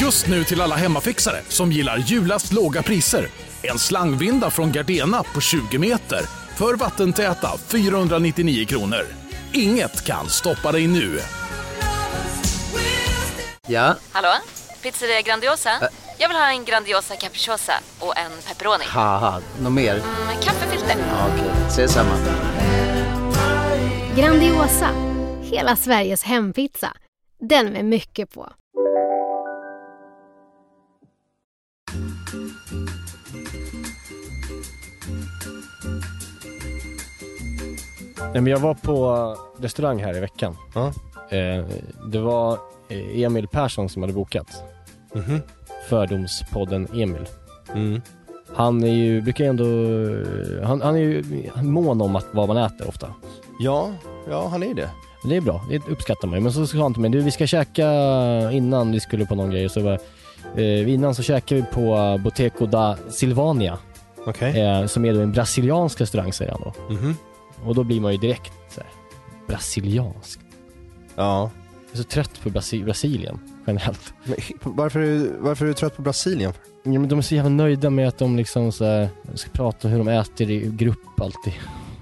Just nu till alla hemmafixare som gillar julast låga priser. En slangvinda från Gardena på 20 meter för vattentäta 499 kronor. Inget kan stoppa dig nu. Ja, Hallå? Pizzeria Grandiosa? Jag vill ha en Grandiosa capriciosa och en pepperoni. haha, något mer? Med kaffefilter. Ja, Okej, ses samma. Grandiosa, hela Sveriges hempizza. Den med mycket på. Nej, men jag var på restaurang här i veckan. Eh, det var eh, Emil Persson som hade bokat. Mhm. Fördomspodden Emil. Mm. Han är ju, brukar ju ändå, han, han är ju mån om att vad man äter ofta. Ja, ja han är det. Det är bra, det uppskattar man ju. Men så sa han till mig, du vi ska käka innan vi skulle på någon grej. Så bara, eh, innan så käkade vi på eh, Boteco da Silvania. Okej. Eh, som är då en brasiliansk restaurang säger han då. Mhm. Och då blir man ju direkt så här, brasiliansk. Ja. Jag är så trött på Brasi- Brasilien generellt. Men, varför, är du, varför är du trött på Brasilien? Ja, men de är så jävla nöjda med att de liksom så här, ska prata om hur de äter i grupp alltid.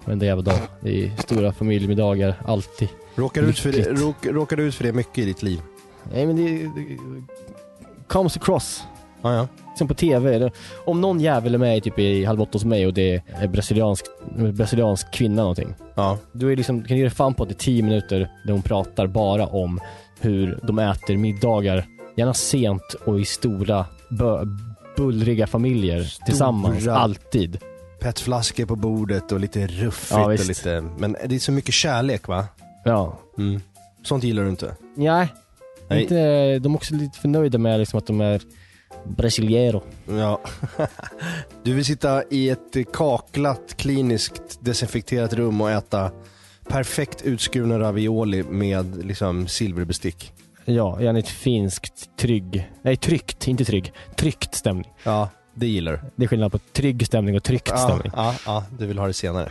Varenda jävla dag. I stora familjemiddagar, alltid. Råkar du, ut för det, Lyckligt. råk, råkar du ut för det mycket i ditt liv? Nej men det, det comes across. Ja, ja. Sen på TV, eller, om någon jävel är med i typ i Halv åtta hos mig och det är brasiliansk, brasiliansk kvinna någonting. ja. Då är det liksom, kan du ge dig fan på att det är 10 minuter där hon pratar bara om hur de äter middagar, gärna sent och i stora bö- bullriga familjer tillsammans, alltid. Petflaskor på bordet och lite ruffigt Ja, och visst. lite... Men det är så mycket kärlek va? Ja. Mm. Sånt gillar du inte? Nej, Nej. Inte, de är också lite förnöjda med liksom att de är brasiliero. Ja. Du vill sitta i ett kaklat, kliniskt desinfekterat rum och äta perfekt utskurna ravioli med liksom silverbestick. Ja, gärna ett finskt trygg, nej tryckt, inte trygg, tryckt stämning. Ja, det gillar du. Det är skillnad på trygg stämning och tryckt Ja, stämning. ja, ja, du vill ha det senare.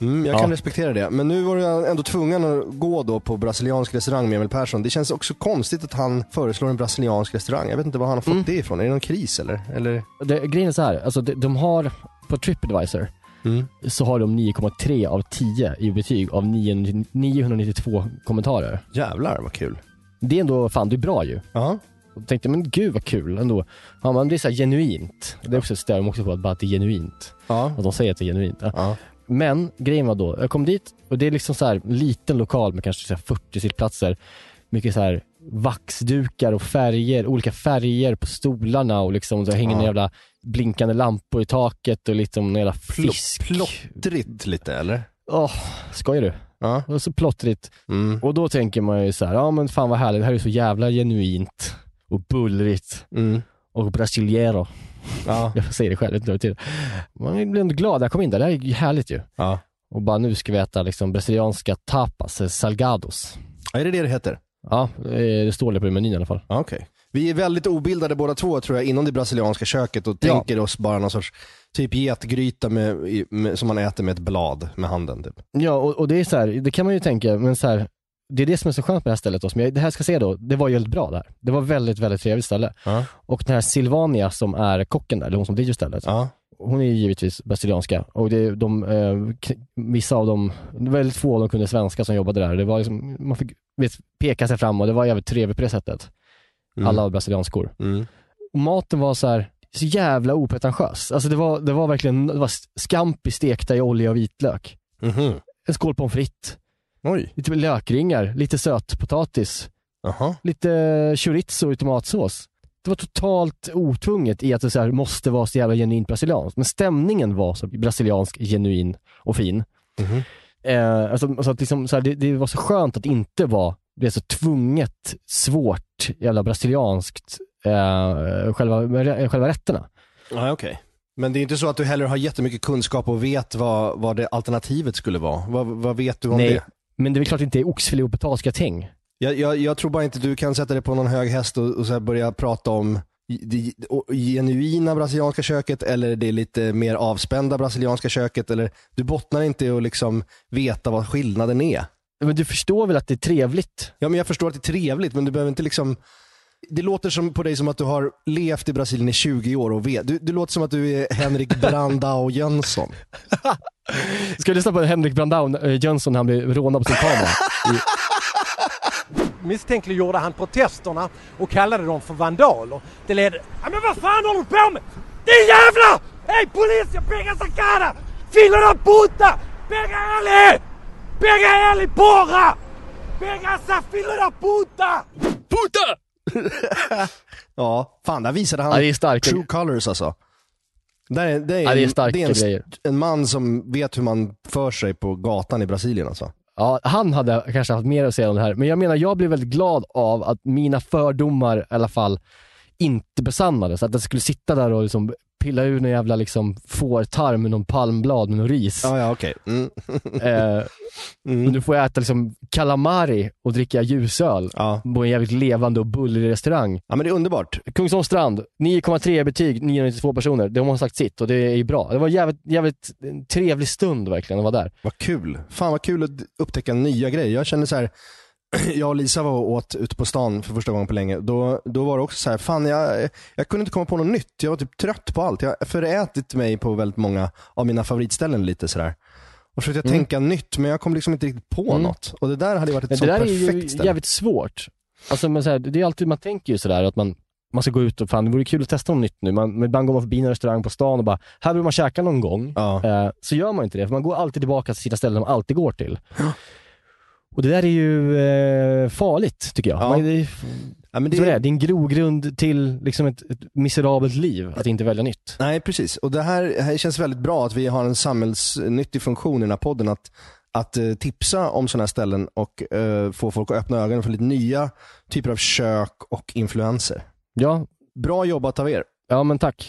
Mm, jag Ja. kan respektera det. Men nu var du ändå tvungen att gå då på brasiliansk restaurang med Emil Persson. Det känns också konstigt att han föreslår en brasiliansk restaurang. Jag vet inte var han har fått Mm. det ifrån. Är det någon kris eller? eller? Det, grejen är så här, alltså de, de har, på Tripadvisor Mm. så har de 9,3 av 10 i betyg av 9, 992 kommentarer. Jävlar vad kul. Det är ändå, fan det är bra ju. Ja. Och tänkte, men gud vad kul ändå. Ja men det är så här genuint. Det är också ett ställe de också på, att bara att det är genuint. Ja. Och de säger att det är genuint. Ja. ja. Men grejen var då, jag kom dit och det är liksom så här liten lokal med kanske så här 40 sittplatser. Mycket så här vaxdukar och färger, olika färger på stolarna och liksom så hänger Ja. några jävla blinkande lampor i taket och liksom några jävla Plo- fisk. Plottrigt lite eller? Åh, skojar du? Ja. Och så plottrigt. Mm. Och då tänker man ju så här, ja men fan vad härligt, det här är så jävla genuint och bullrigt Mm. och brasiliero. Ja. Jag säger det själv, jag vet inte hur det betyder. Man blir ändå glad när jag kom in där, det här är ju härligt ju. ja. Och bara nu ska vi äta liksom brasilianska tapas, eh, salgados. Är det det det heter? Ja, eh, det står det på menyn i alla fall. Ja, okej. Vi är väldigt obildade båda två tror jag inom det brasilianska köket och Ja. tänker oss bara någon sorts typ getgryta med, i- med, som man äter med ett blad med handen. Typ. Ja, och, och det är så här, det kan man ju tänka, men så här, det är det som är så skönt med det här stället då, som jag, det här ska jag säga då, det var ju väldigt bra där. Det var väldigt, väldigt trevligt ställe. Ja. Och den här Silvania som är kocken där, eller hon som driver stället, Ja. hon är ju givetvis brasilianska och det, de, eh, k- vissa av dem, det var väldigt få av dem kunde svenska som jobbade där. Det var liksom, man fick vet, peka sig fram och det var jävligt trevligt på det sättet. Mm. Alla var brasilianskor. Mm. Och maten var så här så jävla opretentiös. Alltså det var, det var verkligen det var scampi stekta i olja och vitlök. Mhm. En skål pommes frites, Oj. lite lökringar, lite sötpotatis, Jaha. lite chorizo i tomatsås. Det var totalt otvunget i att det så här måste vara så jävla genuint brasilianskt. Men stämningen var så brasiliansk, genuin och fin. Mhm. Eh, alltså, alltså att liksom, så här, det, det var så skönt att inte vara det är så tvunget, svårt, jävla brasilianskt, eh, själva, själva rätterna. Ja, okej. Men det är inte så att du heller har jättemycket kunskap och vet vad, vad det alternativet skulle vara? Vad, vad vet du om Nej, det? men det är väl klart inte är oxfilé och potatisgratäng. Jag, jag, jag tror bara inte du kan sätta dig på någon hög häst och, och så här börja prata om i- det o- genuina brasilianska köket eller det lite mer avspända brasilianska köket. Eller, du bottnar inte i att liksom veta vad skillnaden är. Men du förstår väl att det är trevligt? Ja, men jag förstår att det är trevligt men du behöver inte liksom det låter som på dig som att du har levt i Brasilien i 20 år och vet. Du, du låter som att du är Henrik Brandao Jönsson. Ska vi lyssna på Henrik Brandao eh, Jönsson när han blir rånad på sin kamera? I- misstänkliggjorde han protesterna och kallade dem för vandaler. Det ledde... Ja, men vad fan håller du på med? Din jävla! Hej polis! Jag pekar Sakara! Filorna puta! Pega ele! Pega ele porra! Pega essa filorna puta! Puta! Ja, fan där visade han Ja, det är starka- true colors alltså. Där är, det, är, Ja, det är starka en, grejer. en man som vet hur man för sig på gatan i Brasilien alltså. Ja, han hade kanske haft mer att säga om det här, men jag menar jag blev väldigt glad av att mina fördomar i alla fall inte besannades. Att jag skulle sitta där och liksom pilla ur någon jävla liksom fårtarm med någon palmblad med någon ris. Ja, ja okej. Mm. Eh, och nu får jag äta liksom calamari och dricka ljusöl Ja. på en jävligt levande och bullrig restaurang. ja, men det är underbart. Kungsholms strand, 9,3 i betyg, 992 personer. De har sagt sitt och det är ju bra. Det var en jävligt, jävligt trevlig stund verkligen att vara där. Vad kul. Fan vad kul att upptäcka nya grejer. Jag känner så här, jag och Lisa var och åt ute på stan för första gången på länge. Då, då var det också så här, fan jag, jag kunde inte komma på något nytt. Jag var typ trött på allt. Jag har förätit mig på väldigt många av mina favoritställen lite sådär. Och så försökte jag tänka nytt, men jag kom liksom inte riktigt på Mm. något. Och det där hade ju varit ett Men så det där är perfekt ju ställe. jävligt svårt. Alltså, men så här, det är alltid, man tänker ju sådär att man, man ska gå ut och fan, det vore kul att testa något nytt nu. Man, men ibland går man förbi en restaurang på stan och bara, här vill man käka någon gång. Ja. Eh, så gör man ju inte det, för man går alltid tillbaka till sina ställen man alltid går till. Och det där är ju eh, farligt tycker jag. Ja. Man, det, är- Ja, men det, det, är, det, är, en grogrund till liksom ett, ett miserabelt liv, att inte välja nytt. Nej, precis. Och det här, här känns väldigt bra att vi har en samhällsnyttig funktion i den här podden. Att, att eh, tipsa om sådana här ställen och eh, få folk att öppna ögonen för lite nya typer av kök och influenser. Ja, Bra jobbat av er. ja men tack.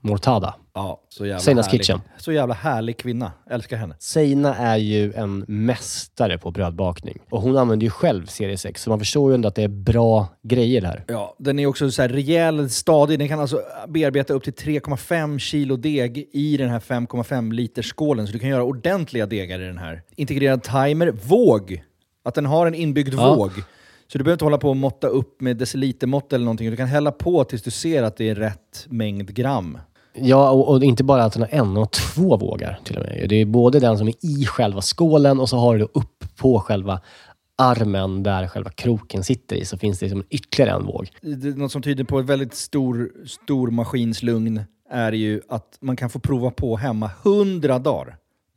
Mortada. Ja, så jävla Seinas härlig. Kitchen. Så jävla härlig kvinna. Älskar henne. Seina är ju en mästare på brödbakning och hon använder ju själv serie 6 så man förstår ju ändå att det är bra grejer här. Ja, den är också så här rejäl, stadig. Den kan alltså bearbeta upp till 3,5 kilo deg i den här 5,5 liters skålen. Så du kan göra ordentliga degar i den här. Integrerad timer, våg. Att den har en inbyggd Ja. våg. Så du behöver inte hålla på och måtta upp med decilitermått eller någonting. Du kan hälla på tills du ser att det är rätt mängd gram. Ja, och, och inte bara att den har en och två vågar till och med. Det är både den som är i själva skålen och så har du då upp på själva armen där själva kroken sitter i så finns det liksom ytterligare en våg. det, något som tyder på ett väldigt stor, stor maskinslugn är ju att man kan få prova på hemma 100 dagar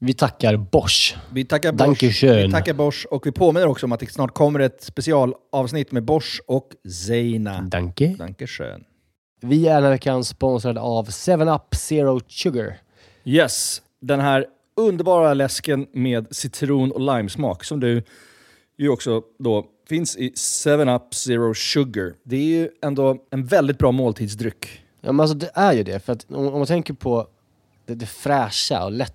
Vi tackar Bosch. Vi tackar Bosch. Dankeschön. Vi tackar Bosch och vi påminner också om att det snart kommer ett specialavsnitt med Bosch och Zeina. Danke. Dankeschön. Vi är den här veckan sponsrade av 7up Zero Sugar. Yes, den här underbara läsken med citron och limesmak som du ju också då finns i 7-Up Zero Sugar. Det är ju ändå en väldigt bra måltidsdryck. Ja, men alltså det är ju det. För att om, om man tänker på det, det fräscha och lätta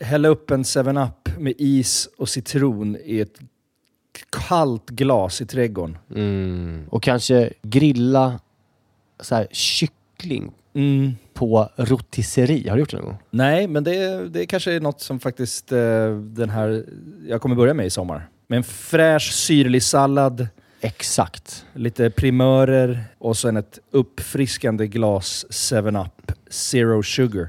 hälla upp en 7-Up med is och citron i ett kallt glas i trädgården. Mm. Och kanske grilla så här, kyckling Mm. på rotisserie. Har du gjort det någon gång? Nej, men det, det kanske är något som faktiskt eh, den här, jag kommer börja med i sommar. Med en fräsch syrlig sallad, Exakt. lite primörer och sen ett uppfriskande glas 7-Up Zero Sugar.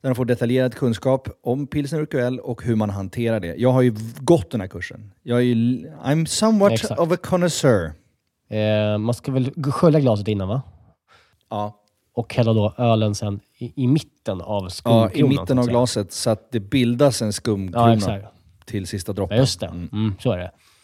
Där de får detaljerad kunskap om pilsner och QL och hur man hanterar det. Jag har ju gått den här kursen. Jag är ju, I'm somewhat Exakt. of a connoisseur. Eh, man ska väl g- skölja glaset innan va? Ja, Och hälla då ölen sen i, i mitten av ja, skumkronan. I mitten så att av säga. glaset så att det bildas en Ja, skumkrona exakt. till sista Ja, droppen. just det. Mm, så är det.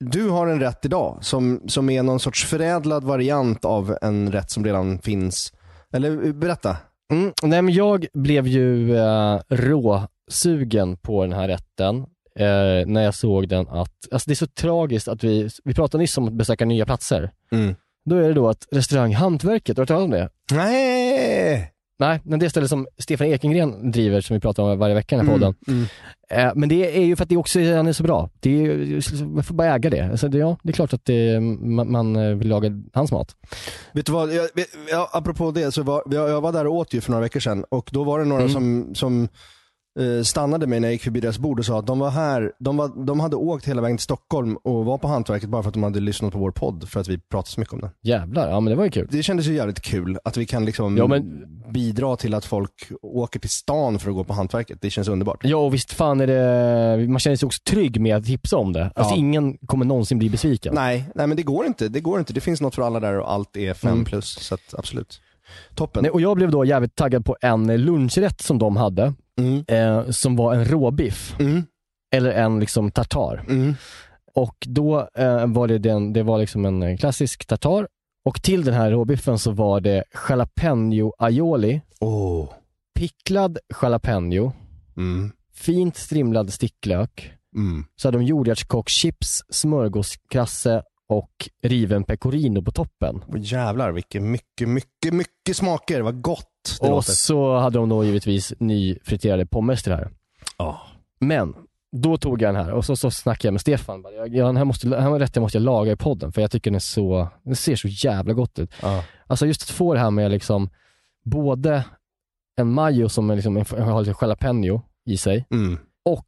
du har en rätt idag som, som är någon sorts förädlad variant av en rätt som redan finns. Eller berätta. Mm. Nej, men jag blev ju eh, råsugen på den här rätten eh, när jag såg den att, alltså det är så tragiskt att vi, vi pratade nyss om att besöka nya platser. Mm. Då är det då att restaurang Hantverket, har du hört talas om det? Nej! Nej, men det är stället som Stefan Ekengren driver som vi pratar om varje vecka i den här Mm. podden. Eh, men det är ju för att det också han är så bra. Det är, ju- man får bara äga det. Alltså, det, ja, det är klart att det, man, man eh, vill laga hans mat. Vet du vad, jag, jag, apropå det, så var, jag, jag var där och åt ju för några veckor sedan och då var det Mm. några som, som eh, stannade mig när jag gick förbi deras bord och sa att de var här, de, var, de hade åkt hela vägen till Stockholm och var på Hantverket bara för att de hade lyssnat på vår podd för att vi pratade så mycket om den. Jävlar, ja men det var ju kul. Det kändes ju jävligt kul att vi kan liksom Ja, men- bidra till att folk åker till stan för att gå på Hantverket. Det känns underbart. Ja och visst fan är det, man känner sig också trygg med att tipsa om det. Alltså Ja. ingen kommer någonsin bli besviken. Nej, nej men det går inte. Det går inte. Det finns något för alla där och allt är fem Mm. plus. Så att, absolut. Toppen. Nej, och jag blev då jävligt taggad på en lunchrätt som de hade, Mm. eh, som var en råbiff. Mm. Eller en liksom tartar. Mm. Och då eh, var det, den, det var liksom en eh, klassisk tartar. Och till den här råbiffen så var det jalapeno aioli, Oh. picklad jalapeno, Mm. fint strimlad sticklök, Mm. så hade de jordärtskockschips, smörgåskrasse och riven pecorino på toppen. Och jävlar vilket mycket, mycket, mycket smaker. Vad gott det och låter. så hade de då givetvis nyfriterade pommes till det här. Ja. Men, då tog jag den här och så, så snackade jag med Stefan. Bara, Jag, jag, den här måste, den här rätten måste jag laga i podden för jag tycker den är så, den ser så jävla gott ut. Ja. Alltså just att få det här med liksom både en majo som är liksom en, har lite jalapeno i sig Mm. och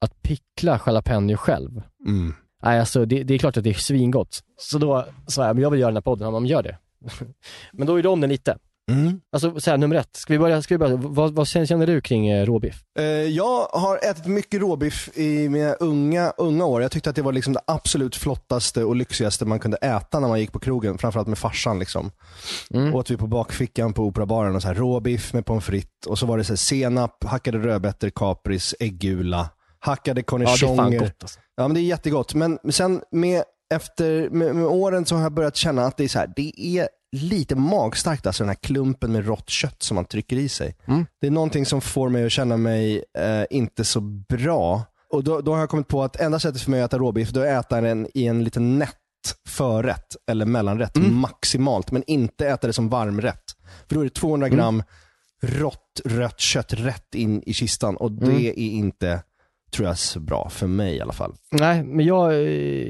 att pickla jalapeno själv. Mm. Nej, alltså det, det är klart att det är svingott. Så då sa jag, men jag vill göra den här podden. Han bara, men gör det. men då gjorde jag om den lite. Mm. Alltså så här, nummer ett, ska vi börja, ska vi börja vad, vad känner du kring eh, råbiff? Eh, jag har ätit mycket råbiff i mina unga, unga år. Jag tyckte att det var liksom det absolut flottaste och lyxigaste man kunde äta när man gick på krogen. Framförallt med farsan. Liksom. Mm. Åt vi på bakfickan på Operabaren och så här, råbiff med pommes frites. Och så var det så här, senap, hackade rödbetor, kapris, äggula, hackade Ja, det är cornichoner. fan gott alltså. Ja, men det är jättegott. Men sen med, efter, med, med åren så har jag börjat känna att det är så här, det är lite magstarkt, alltså den här klumpen med rått kött som man trycker i sig. Det är någonting som får mig att känna mig eh, inte så bra. Och då, då har jag kommit på att enda sättet för mig att äta råbiff, då är att äta den i en liten nätt förrätt eller mellanrätt maximalt, men inte äta det som varmrätt. För då är det 200 gram rått rött kött rätt in i kistan och det är inte, tror jag, så bra för mig i alla fall. Nej, men jag, eh,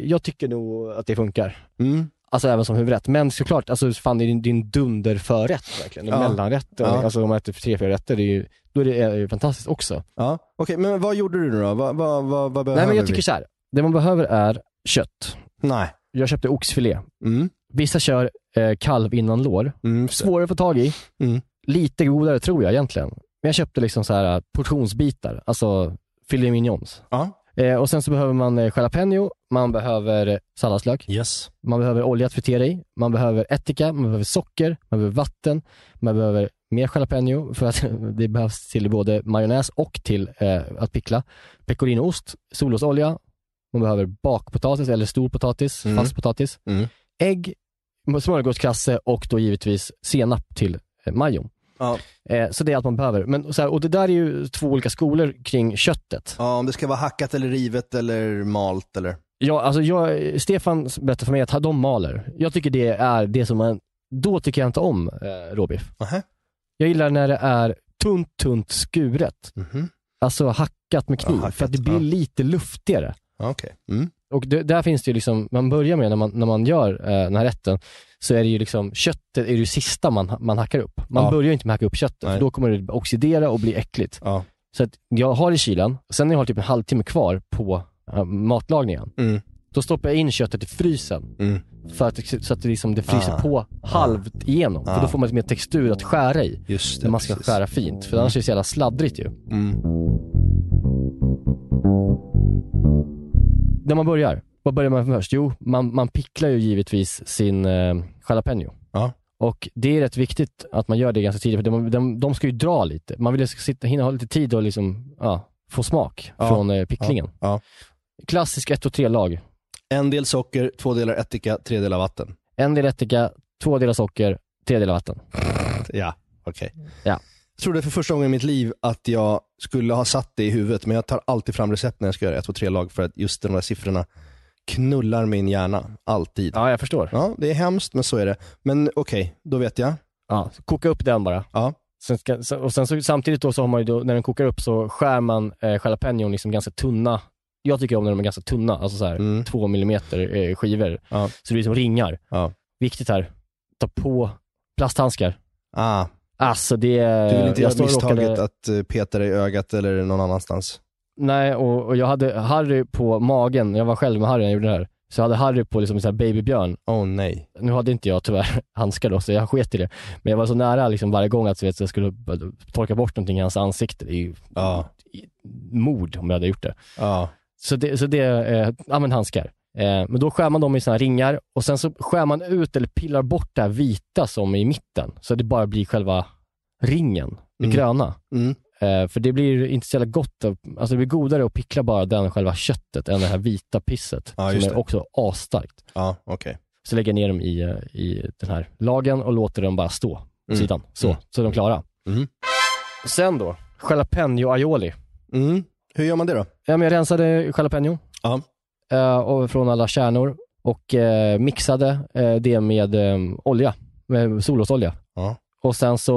jag tycker nog att det funkar. Mm. Alltså även som huvudrätt. Men såklart, alltså fan det är din, din dunderförrätt verkligen. Ja. Mellanrätten, Ja. alltså om man äter tre, fyra rätter, det är ju, då är det eh, fantastiskt också. Ja. Okej, men vad gjorde du nu då? Vad, vad, vad, vad behöver Nej men jag vi? tycker så här. det man behöver är kött. Nej. Jag köpte oxfilé. Mm. Vissa kör eh, kalv innan lår. Mm. Svårare att få tag i. Mm. Lite godare tror jag egentligen. Men jag köpte liksom så här portionsbitar, alltså filet mignons. Ja. Eh, och sen så behöver man eh, jalapeno, man behöver salladslök, Yes. man behöver olja att fritera i, man behöver ättika, man behöver socker, man behöver vatten, man behöver mer jalapeno för att det behövs till både majonnäs och till eh, att pickla. Pecorinoost, solrosolja, man behöver bakpotatis eller stor potatis, Mm. fast potatis, Mm. ägg, smörgåskasse och då givetvis senap till eh, majon. Ja. Eh, så det är allt man behöver. Men, så här, och det där är ju två olika skolor kring köttet. Ja, om det ska vara hackat eller rivet eller malt eller? Ja, alltså jag, Stefan berättade för mig att de maler. Jag tycker det är det som man, då tycker jag inte om eh, råbiff. Nähä. Jag gillar när det är tunt, tunt skuret. Mhm. Alltså hackat med kniv, Ja, hackat, för att det blir ja. lite luftigare. Ja, Okej. Mm. Och det, där finns det ju liksom, man börjar med när man, när man gör eh, den här rätten, så är det ju liksom, köttet är det ju sista man, man hackar upp. Man Ja. börjar ju inte med att hacka upp köttet, Nej. för då kommer det oxidera och bli äckligt. Ja. Så att jag har i kylen, sen när jag har typ en halvtimme kvar på eh, matlagningen, Mm. då stoppar jag in köttet i frysen Mm. för att, så att det, liksom, det fryser Ah. på halvt igenom. För Ah. då får man lite mer textur att skära i. Just Där man ska skära fint, för annars är det så jävla sladdrigt ju. Mm. När man börjar, vad börjar man med först? Jo, man, man picklar ju givetvis sin eh, jalapeno. Ja. Och det är rätt viktigt att man gör det ganska tidigt, för de, de, de ska ju dra lite. Man vill ju sitta, hinna ha lite tid och liksom, ja, få smak Ja. från eh, picklingen. Ja. Klassisk 1 och 3-lag. En del socker, två delar ättika, tre delar vatten. En del ättika, två delar socker, tre delar vatten. Ja, okej. Ja. Jag trodde för första gången i mitt liv att jag skulle ha satt det i huvudet, men jag tar alltid fram recept när jag ska göra ett, två, tre lag för att just de där siffrorna knullar min hjärna. Alltid. Ja, jag förstår. Ja, det är hemskt, men så är det. Men okej, då vet jag. Ja, så koka upp den bara. Ja. Sen ska, så- och sen så, samtidigt då så har man ju då, när den kokar upp så skär man eh, jalapenon liksom ganska tunna. Jag tycker om när de är ganska tunna, alltså så här Mm. två millimeter eh, skivor. Ja. Så det blir som ringar. Ja. Viktigt här, ta på plasthandskar. Ah, Alltså det... du vill inte jag göra står och misstaget råkade- att eh, peta dig i ögat eller någon annanstans. Nej, och, och jag hade Harry på magen, jag var själv med Harry när jag gjorde det här. Så jag hade Harry på liksom en sån här babybjörn Oh nej. nu hade inte jag tyvärr handskar då, så jag sket i det. Men jag var så nära liksom varje gång att du vet, jag skulle torka bort någonting i hans ansikte. Det är ju Ja. mord om jag hade gjort det. Ja. Så det, så det eh, ja men handskar. Eh, men då skär man dem i såna här ringar och sen så skär man ut eller pillar bort det här vita som är i mitten. Så det bara blir själva ringen, det Mm. gröna. Mm. Eh, för det blir inte så jävla gott, att- alltså det blir godare att pickla bara den själva köttet än det här vita pisset. Ja, just som är det. också asstarkt. Ja, okej. Så lägger jag ner dem i, eh, i den här lagen och låter dem bara stå på Mm. sidan. Så, Mm. så är de klara. Mm. Sen då, jalapeno aioli. Mm. Hur gör man det då? Ja, men Jag rensade jalapeno Ja. eh, och från alla kärnor och eh, mixade eh, det med eh, olja, med solrosolja. Ja. Och sen så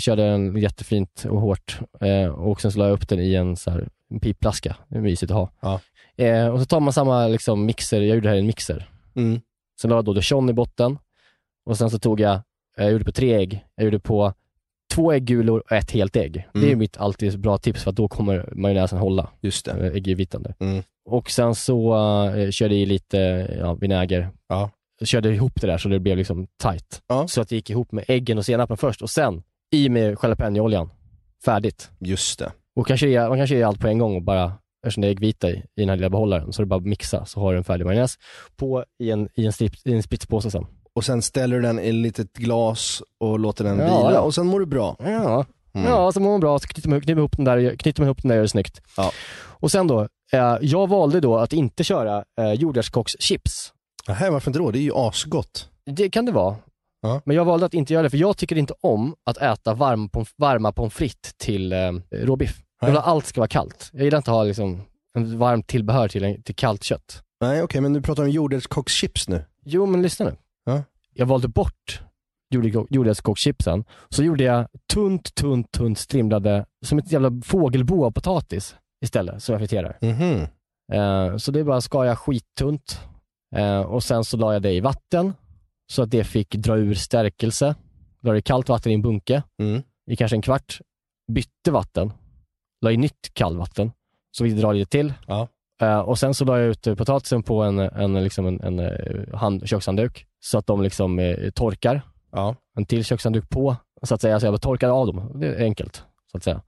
körde jag den jättefint och hårt eh, och sen så la jag upp den i en, så här, en piplaska. Det är mysigt att ha. Ja. Eh, och så tar man samma liksom, mixer, jag gjorde det här i en mixer. Mm. eh, Sen la jag då dijon i botten. Och sen så tog jag, jag gjorde på tre ägg. Jag gjorde på två ägggulor och ett helt ägg. Det är Mm. mitt alltid bra tips för att då kommer majonnäsen hålla, Just det. eh, äggvitande. Mm. Och sen så eh, körde jag i lite ja, vinäger. Ja. Körde ihop det där så det blev liksom tight. Ja. Så att det gick ihop med äggen och senapen först och sen i med jalapeño-oljan. Färdigt. Just det. Och kanske är, man kanske gör allt på en gång och bara, eftersom det är äggvita i, i den här lilla behållaren, så är det bara att mixa så har du en färdig majonnäs på i en, i en, strips- i en spritspåse sen. Och sen ställer du den i ett litet glas och låter den Ja, vila ja. och sen mår du bra. Ja, Mm. ja så mår man bra, så knyter man, knyter man ihop den där, och gör- knyter man ihop den där och gör det snyggt. Ja. Och sen då, eh, jag valde då att inte köra eh, jordärtskockschips. Nähä, varför inte då? Det är ju asgott. Det kan det vara. Ja. Men jag valde att inte göra det, för jag tycker inte om att äta varm, pomf- varma pommes frites till eh, råbiff. Jag vill Nej. att allt ska vara kallt. Jag gillar inte att ha liksom, en varmt tillbehör till, en, till kallt kött. Nej okej, men du pratar om jordärtskockschips nu. Jo, men lyssna nu. Ja. Jag valde bort jordägg- jordärtskockschipsen. Så gjorde jag tunt, tunt, tunt strimlade, som ett jävla fågelbo av potatis istället, som jag friterar. Mhm. Eh, så det är bara att skala skittunt. Eh, och sen så la jag det i vatten, så att det fick dra ur stärkelse. La det i kallt vatten i en bunke Mm. i kanske en kvart, bytte vatten, la i nytt kallvatten, så vi drar lite till. Ja. Eh, och sen så la jag ut eh, potatisen på en, en, liksom en, en eh, hand, kökshandduk så att de liksom eh, torkar. Ja. En till kökshandduk på, så att säga. Så jag bara torkade av dem. Det är enkelt, så att säga.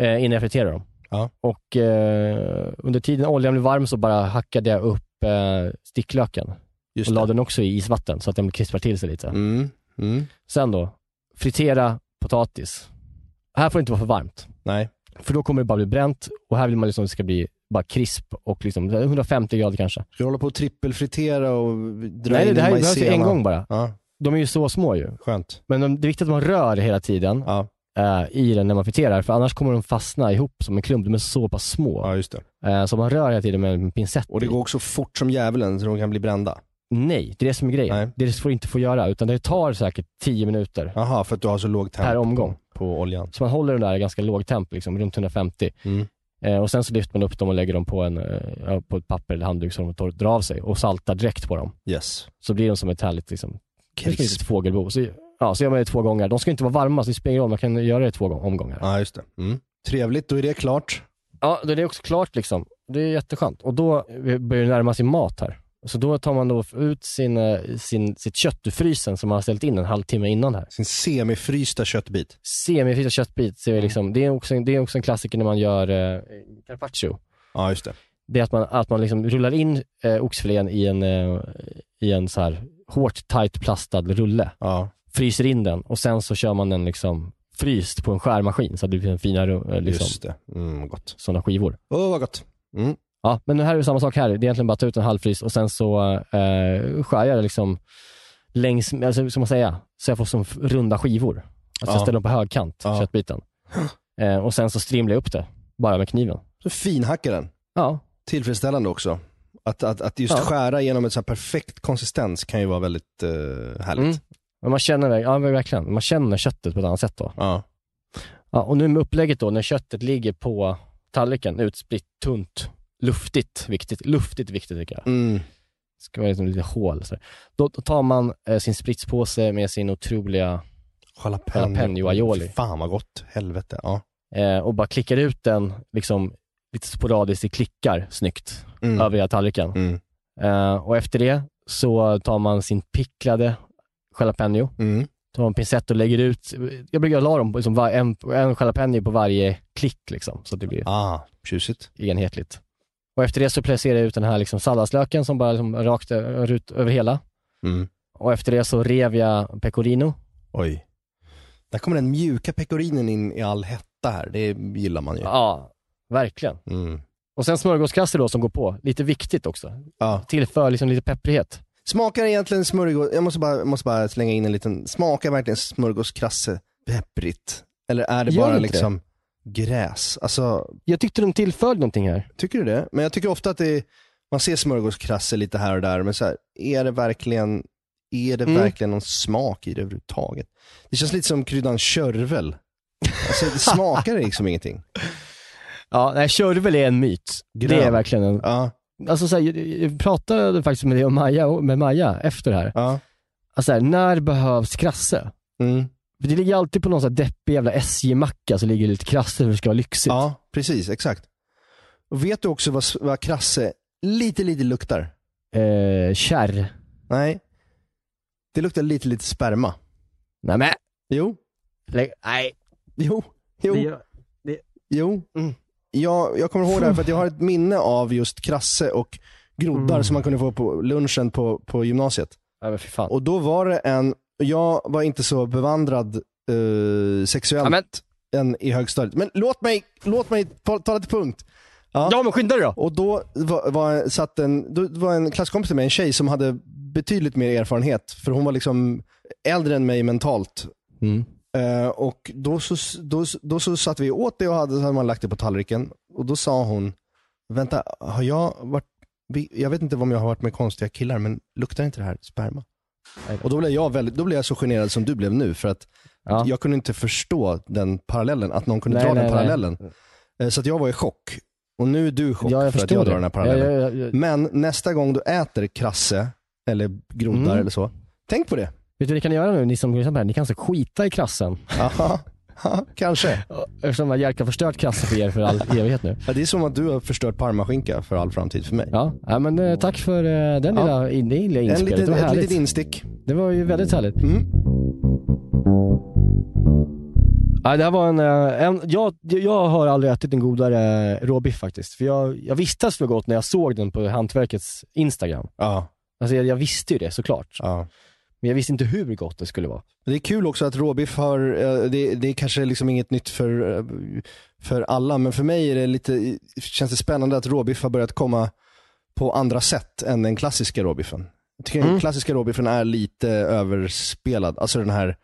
Eh, innan jag friterar dem. Ja. Och eh, under tiden oljan blev varm så bara hackade jag upp eh, sticklöken Just och la det. den också i isvatten så att den krispar till sig lite. Mm. Mm. Sen då, fritera potatis. Här får det inte vara för varmt. Nej. För då kommer det bara bli bränt och här vill man liksom att det ska bli bara krisp och liksom 150 grader kanske. Ska du hålla på och trippelfritera och dra Nej, in det här behövs majsena? en gång bara. Ja, De är ju så små ju. skönt. Men de, det är viktigt att man rör hela tiden Ja, eh, i den när man friterar för annars kommer de fastna ihop som en klump. De är så pass små. ja, just det. Eh, så man rör hela tiden med en pincett. Och det i. går också fort som djävulen så de kan bli brända. Nej, det är det som är grejen. Nej. Det får du inte få göra utan det tar säkert 10 minuter Jaha, för att du har så låg temp per omgång. på oljan. Så man håller den där i ganska låg temp, liksom, runt 150. Mm. Eh, och sen så lyfter man upp dem och lägger dem på, en, eh, ja, på ett papper eller handduk så de tor- drar av sig och saltar direkt på dem. Yes. Så blir de som ett härligt liksom, Krisp. ett litet fågelbo. Så, ja, så gör man det två gånger. De ska inte vara varma, så det spelar ingen roll. Man kan göra det två gång- omgångar. Ja. Ja, just det. Mm. Trevligt, då är det klart. då är det också klart liksom. Det är jätteskönt. Och då eh, börjar det närma sig mat här. Så då tar man då ut sin, eh, sin, sitt kött ur frysen som man har ställt in en halvtimme innan här. Sin semifrysta köttbit. Semifrysta köttbit, så är det, liksom, det, är också, en- det är också en klassiker när man gör eh, carpaccio. Ja, just det. det är att man, att man liksom rullar in eh, oxfilén i en, eh, i en så här hårt tight plastad rulle, Ja, fryser in den och sen så kör man den liksom fryst på en skärmaskin så att det blir en fina eh, liksom, just det. Mm, gott. sådana skivor. Åh, vad gott. Mm. Ja, men nu här är det samma sak här. Det är egentligen bara att ta ut en halvfrys och sen så eh, skär jag det liksom längs, alltså, hur ska man säga, så jag får som f- runda skivor. Alltså Ja. jag ställer dem på högkant, Ja. köttbiten. Eh, och sen så strimlar jag upp det, bara med kniven. Så finhackar den. Ja, Tillfredsställande också. Att, att, att just Ja. skära genom en så här perfekt konsistens kan ju vara väldigt eh, härligt. Mm. men man känner, verk- ja, verkligen, man känner köttet på ett annat sätt då. Ja. Ja, och nu med upplägget då, när köttet ligger på tallriken, utspritt, tunt, luftigt, viktigt, luftigt viktigt tycker jag. Mm. Ska vara liksom lite hål. Så. här. Då, då tar man eh, sin spritspåse med sin otroliga, Jalapeno. Jalapeno aioli. Fan vad gott. Helvete. Ja. eh, och bara klickar ut den liksom lite sporadiskt i klickar snyggt Mm. över hela tallriken. Mm. Eh, och efter det så tar man sin picklade jalapeno, Mm. tar en pincett och lägger ut, jag brukar la dem på liksom, var- en, en jalapeno på varje klick liksom, så att det blir Ah, tjusigt. enhetligt. Och efter det så placerar jag ut den här liksom salladslöken som bara liksom rakt ö- ut över hela. Mm. Och efter det så rev jag pecorino. Oj. Där kommer den mjuka pecorinen in i all hetta här. Det gillar man ju. Ja, verkligen. Mm. Och sen smörgåskrasser då som går på. Lite viktigt också. Ja. Tillför liksom lite pepprighet. Smakar egentligen smörgås... Jag måste bara, måste bara slänga in en liten... Smakar verkligen smörgåskrasse pepprigt? Eller är det Gör bara det inte liksom gräs? Alltså, Jag tyckte de tillförde någonting här. tycker du det? Men jag tycker ofta att det är, man ser smörgåskrasse lite här och där, men så här, är det verkligen är det Mm. verkligen någon smak i det överhuvudtaget? Det känns lite som kryddan körvel. Alltså, det smakar liksom ingenting. Ja, nej, körvel är en myt. Det är Grön. verkligen en... Ja, Alltså så här, jag, jag pratade faktiskt med, dig och Maja, med Maja efter det här. ja. Alltså så här, när behövs krasse? Mm. För det ligger alltid på någon sån här deppig jävla SJ-macka så ligger det lite krasse för att det ska vara lyxigt. Ja, precis. Exakt. Och vet du också vad, vad krasse lite, lite luktar? Eh, kärr. Nej. Det luktar lite, lite sperma. Nej men, Jo. lägg- nej. Jo. Jo. Jo. Jag, jag kommer ihåg det här för att jag har ett minne av just krasse och groddar som man kunde få på lunchen på, på gymnasiet. Nej men fy fan. Och då var det en, jag var inte så bevandrad eh, sexuellt Ja, men- än i högstadiet. Men låt mig, låt mig ta- tala till punkt. Ja. men skynda dig då! Och då var, var, satt en, då var en klasskompis till mig, en tjej som hade betydligt mer erfarenhet. För hon var liksom äldre än mig mentalt. Mm. Eh, och då så, då, då så satt vi åt det och hade, så hade man lagt det på tallriken. Och då sa hon, vänta, har jag varit, vi- jag vet inte om jag har varit med konstiga killar, men luktar inte det här sperma? Nej. Och då blev, jag väldigt, då blev jag så generad som du blev nu, för att Ja. jag kunde inte förstå den parallellen, att någon kunde Nej, dra nej, den nej. parallellen. Eh, Så att jag var i chock. Och nu är du i chock Ja, jag för att förstår jag drar det. den här parallellen. Ja, ja, ja, ja. Men nästa gång du äter krasse, eller groddar Mm. eller så, tänk på det. Vet du vad ni kan göra nu, ni som lyssnar på det här? Ni kan alltså skita i krassen. Aha. Kanske. Eftersom jag Jerka har förstört krassen för er för all evighet nu. Ja, det är som att du har förstört parmaskinka för all framtid för mig. Ja, ja men eh, tack för eh, den Ja. lilla, in, det lilla en inspelet. liten, det var ett härligt. litet instick. Det var ju väldigt härligt. Mm. Ja, det här var en, eh, en jag, jag har aldrig ätit en godare eh, råbiff faktiskt. För jag, jag visste att det skulle vara gott när jag såg den på Hantverkets Instagram. Ja, Alltså jag, jag visste ju det såklart. ja. Men jag visste inte hur gott det skulle vara. Det är kul också att råbiff har, eh, det, det är kanske liksom inget nytt för, eh, för alla, men för mig är det lite, känns det spännande att råbiff har börjat komma på andra sätt än den klassiska råbiffen. Jag tycker den klassiska råbiffen är lite överspelad. Alltså den här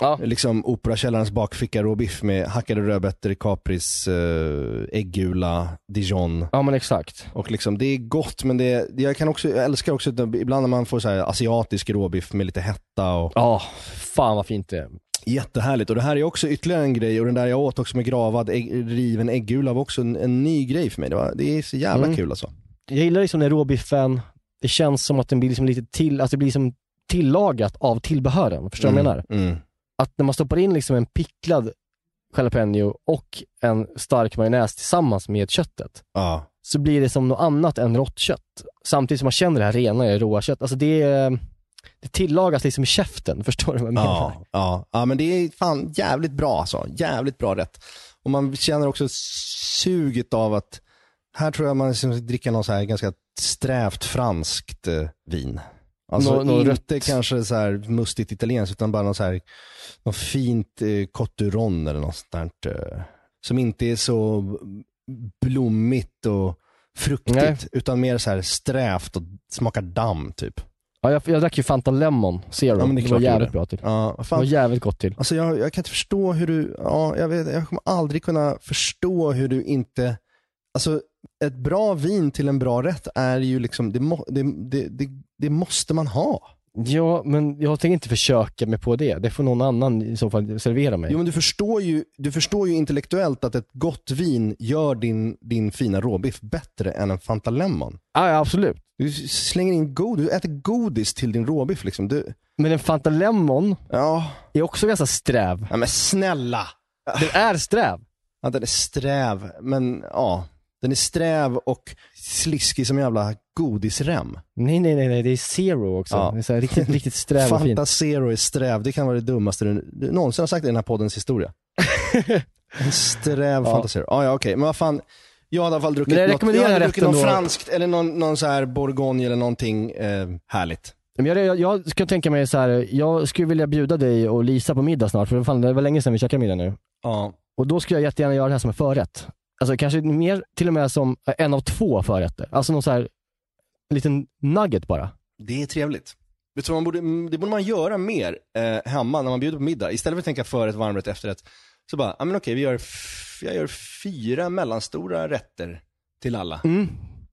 Ja. liksom Operakällarens bakficka råbiff med hackade rödbetor, kapris, eh, äggula, dijon. Ja men exakt. Och liksom, det är gott men det är, jag, kan också, jag älskar också att ibland när man får så här asiatisk råbiff med lite hetta och Ja, fan vad fint det är. jättehärligt. Och det här är också ytterligare en grej och den där jag åt också med gravad ägg, riven äggula var också en, en ny grej för mig. Det, var, det är så jävla Mm. kul alltså. Jag gillar liksom när råbiffen, det känns som att den blir liksom lite till, alltså det blir som tillagat av tillbehören. Förstår du vad jag menar? Mm. att när man stoppar in liksom en picklad jalapeno och en stark majonnäs tillsammans med köttet Ja. så blir det som något annat än rått kött. Samtidigt som man känner det här renare, råa kött. Alltså det, är- det tillagas liksom i käften, förstår du vad jag menar? Ja, ja, ja, men det är fan jävligt bra alltså. Jävligt bra rätt. Och man känner också suget av att, här tror jag man liksom dricker någon så här ganska strävt franskt eh, vin. Alltså Nå- nå inte rött. kanske så här mustigt italienskt utan bara någon så här, någon fint eh, cotturon eller något sånt där. eh, som inte är så blommigt och fruktigt Nej. utan mer så här strävt och smakar damm typ. Ja, jag, jag drack ju Fanta Lemon Zero. Ja, men det är det, klart var du jävligt gjorde. bra till. Ja, Det fan, var jävligt gott till. Alltså jag, jag kan inte förstå hur du, ja, jag, vet, jag kommer aldrig kunna förstå hur du inte, alltså ett bra vin till en bra rätt är ju liksom, det, må, det, det, det, det måste man ha. Ja, men jag tänker inte försöka mig på det. Det får någon annan i så fall servera mig. Jo men du förstår ju, du förstår ju intellektuellt att ett gott vin gör din, din fina råbiff bättre än en Fanta Lemon. Ja, ja, absolut. Du slänger in godis, du äter godis till din råbiff liksom. Du, Men en Fanta Lemon ja, är också ganska sträv. ja men snälla. Den är sträv. Ja, den är sträv, men ja. Den är sträv och sliskig som en jävla godisrem. Nej, nej, nej, nej. det är zero också. Ja. Det är så här riktigt, riktigt sträv och fint. Fanta Zero är sträv. Det kan vara det dummaste du, du någonsin har sagt i den här poddens historia. en sträv Ja. Fanta Zero. Ja, ja, okej. Men vad fan. Jag har i alla fall druckit Men jag något, jag rekommenderar hade druckit rätten någon då. franskt eller någon, någon så här bourgogne eller någonting eh, härligt. Men jag, jag, jag ska tänka mig så här. jag skulle vilja bjuda dig och Lisa på middag snart, för fan, det var länge sedan vi käkade middag nu. Ja. Och då skulle jag jättegärna göra det här som en förrätt. Alltså kanske mer till och med som en av två förrätter. Alltså någon så här en liten nugget bara. Det är trevligt. Vet du, vad man borde, mm, det borde man göra mer eh, hemma när man bjuder på middag. Istället för att tänka förrätt, varmrätt, efterrätt. Så bara, ja men okej, vi gör f- jag gör fyra mellanstora rätter till alla. Mm.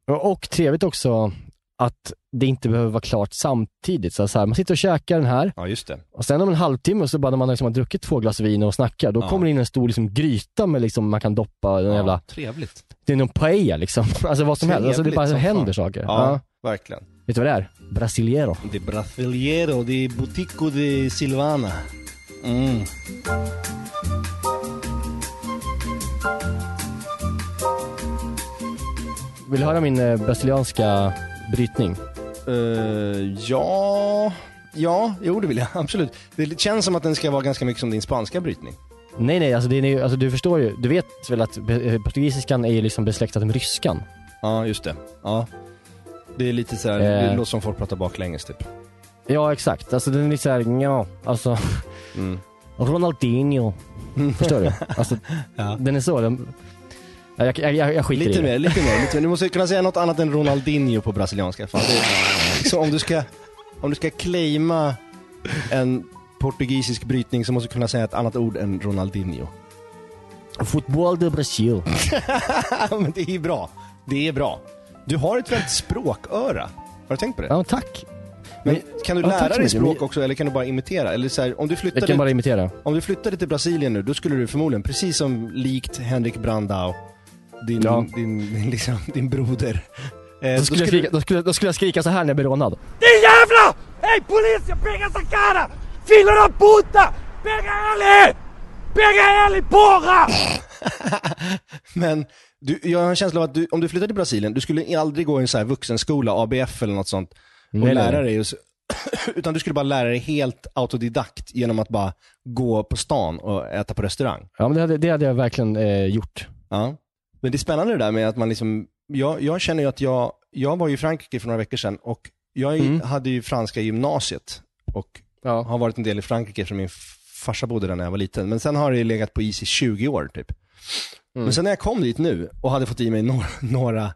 Och och trevligt också att det inte behöver vara klart samtidigt. Så så här, man sitter och käkar den här Ja, just det. och sen om en halvtimme så bara när man liksom har druckit två glas vin och snackar, då Ja. kommer det in en stor liksom, gryta med liksom, man kan doppa den jävla, trevligt. det är någon paella liksom. Alltså vad som helst. Alltså, det Trevligt bara som händer fan. saker. Ja, Ja. verkligen. Vet du vad det är? Brasiliero. Det är Brasiliero, det är Boutico de Silvana. Mm. Vill du höra min eh, brasilianska brytning? Eh, ja, ja, jo det vill jag absolut. Det känns som att den ska vara ganska mycket som din spanska brytning. Nej, nej, alltså, det är, ju- alltså du förstår ju. Du vet väl att be- eh, portugisiskan är ju liksom besläktad med ryskan? Ja, just det. Ja. Det är lite såhär, Eh. det låter som folk pratar baklänges typ. Ja, exakt. Alltså den är så här, ja, alltså. Mm. Ronaldinho. Förstår du? Alltså, den är så. Den, Ja, jag, jag, jag, jag skiter Lite i det. mer, lite mer, lite mer. Du måste kunna säga något annat än Ronaldinho på brasilianska. Fan, det är, så om du ska, om du ska claima en portugisisk brytning så måste du kunna säga ett annat ord än Ronaldinho. Fotboll de Brasil. Ja, men det är bra. Det är bra. Du har ett väldigt språköra. Har du tänkt på det? Ja, tack. men, men- kan du ja, lära tack så dig mycket. språk Men- också eller kan du bara imitera? Eller så här, om, du Jag kan flyttade, bara imitera. om du flyttade till Brasilien nu, då skulle du förmodligen, precis som likt Henrik Brandao, din, Ja. din, din, liksom, din broder. eh, Då skulle, jag skrika, då, skulle, då skulle jag skrika så här när jag blir rånad. Din jävla! Hej polisen, pega essa cara! Filho da puta! Pega ele! Pega ele porra! Men du, jag har en känsla av att du, om du flyttade till Brasilien, du skulle aldrig gå i en så här vuxenskola, ABF eller något sånt, och Nej, nej, lära nej. dig. Och, s- utan du skulle bara lära dig helt autodidakt genom att bara gå på stan och äta på restaurang. Ja, men det hade, det hade jag verkligen eh, gjort. Ja. Men det är spännande det där med att man liksom, jag, jag känner ju att jag, jag var ju i Frankrike för några veckor sedan och jag Mm. hade ju franska i gymnasiet och Ja. har varit en del i Frankrike eftersom min farsa bodde där när jag var liten. Men sen har det legat på is i 20 år typ. Mm. Men sen när jag kom dit nu och hade fått i mig några, några,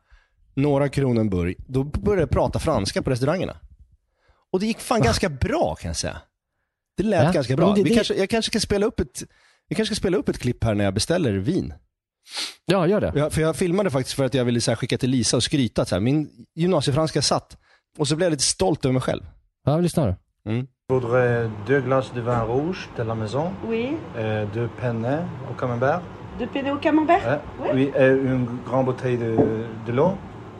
några Kronenburg, då började jag prata franska på restaurangerna. Och det gick fan ganska bra kan jag säga. Det lät Ja, ganska men bra. det- Vi det- kanske, jag kanske ska spela upp ett vi kanske ska spela upp ett klipp här när jag beställer vin. ja, gör det. Jag, för jag filmade faktiskt för att jag ville så här skicka till Lisa och skryta. att Så här, min gymnasiefranska satt. Och så blev jag lite stolt över mig själv. Ja, vi lyssnar. Je voudrais deux glaces de vin rouge de la maison, Oui, euh, deux penne au camembert, de penne au camembert hein, oui, et une grande bouteille de, de l'eau,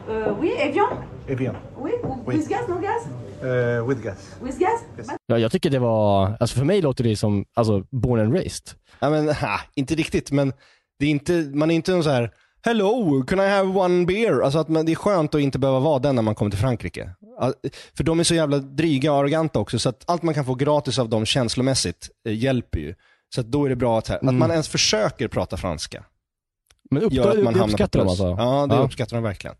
euh, Oui, Evian et bien, Oui, ou Oui. with gas, no gas euh, with gas. With gas Ja, jag tycker det var, alltså för mig låter det som, alltså born and raised. Ja, men, ha, inte riktigt, men det är inte, man är inte en så här Hello, can I have one beer? Alltså att man, det är skönt att inte behöva vara den när man kommer till Frankrike. Ja, För de är så jävla dryga och arroganta också, så att allt man kan få gratis av dem känslomässigt eh, hjälper ju. Så att då är det bra att, så här, Mm. att man ens försöker prata franska. Men upp, Gör att man det hamnar på uppskattar de plus. alltså? Ja, det uppskattar de verkligen.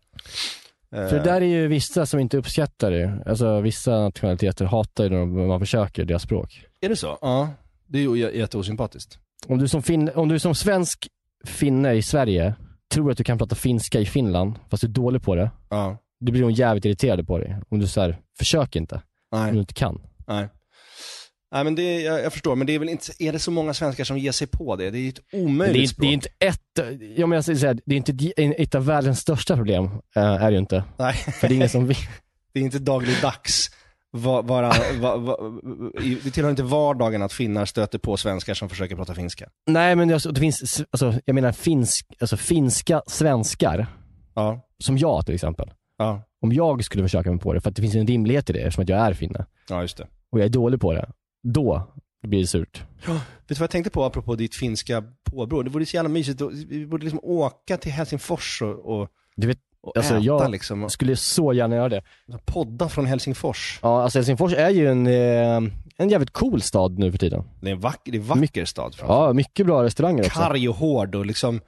Eh, För det där är ju vissa som inte uppskattar det. Alltså vissa nationaliteter hatar ju när de- man försöker deras språk. Är det så? Ja, det är ju j- jätteosympatiskt. Om du som, fin, om du som svensk finne i Sverige tror att du kan prata finska i Finland, fast du är dålig på det, Ja, då blir de jävligt irriterade på dig. Om du säger försök inte, om du nej, inte kan. nej. Nej, men det, jag, jag förstår, men det är väl inte, är det så många svenskar som ger sig på det? Det är ju ett Men Det omöjligt är, språk. det är inte ett, jag menar, så här, det är inte di- ett av världens största problem, eh, är det ju inte. Nej, För det är ingen som vill. det är inte dagligdags. Va, vara, va, va, i- det tillhör inte vardagen att finnar stöter på svenskar som försöker prata finska. Nej men det, alltså, det finns, alltså, jag menar finsk, alltså, finska svenskar, Ja, som jag till exempel. ja, Om jag skulle försöka mig på det, för att det finns en rimlighet i det eftersom att jag är finne ja just det. och jag är dålig på det. Då blir det surt. Vet du vad jag tänkte på apropå ditt finska påbrå? Det vore så jävla mysigt. att- Vi borde liksom åka till Helsingfors och, och, Du vet, och Alltså, äta jag- liksom. jag Och skulle så gärna göra det. podda från Helsingfors. Ja, alltså Helsingfors är ju en, eh, en jävligt cool stad nu för tiden. Det är en vacker, det är en vacker stad. framför Ja, mycket bra restauranger också. karg och hård och liksom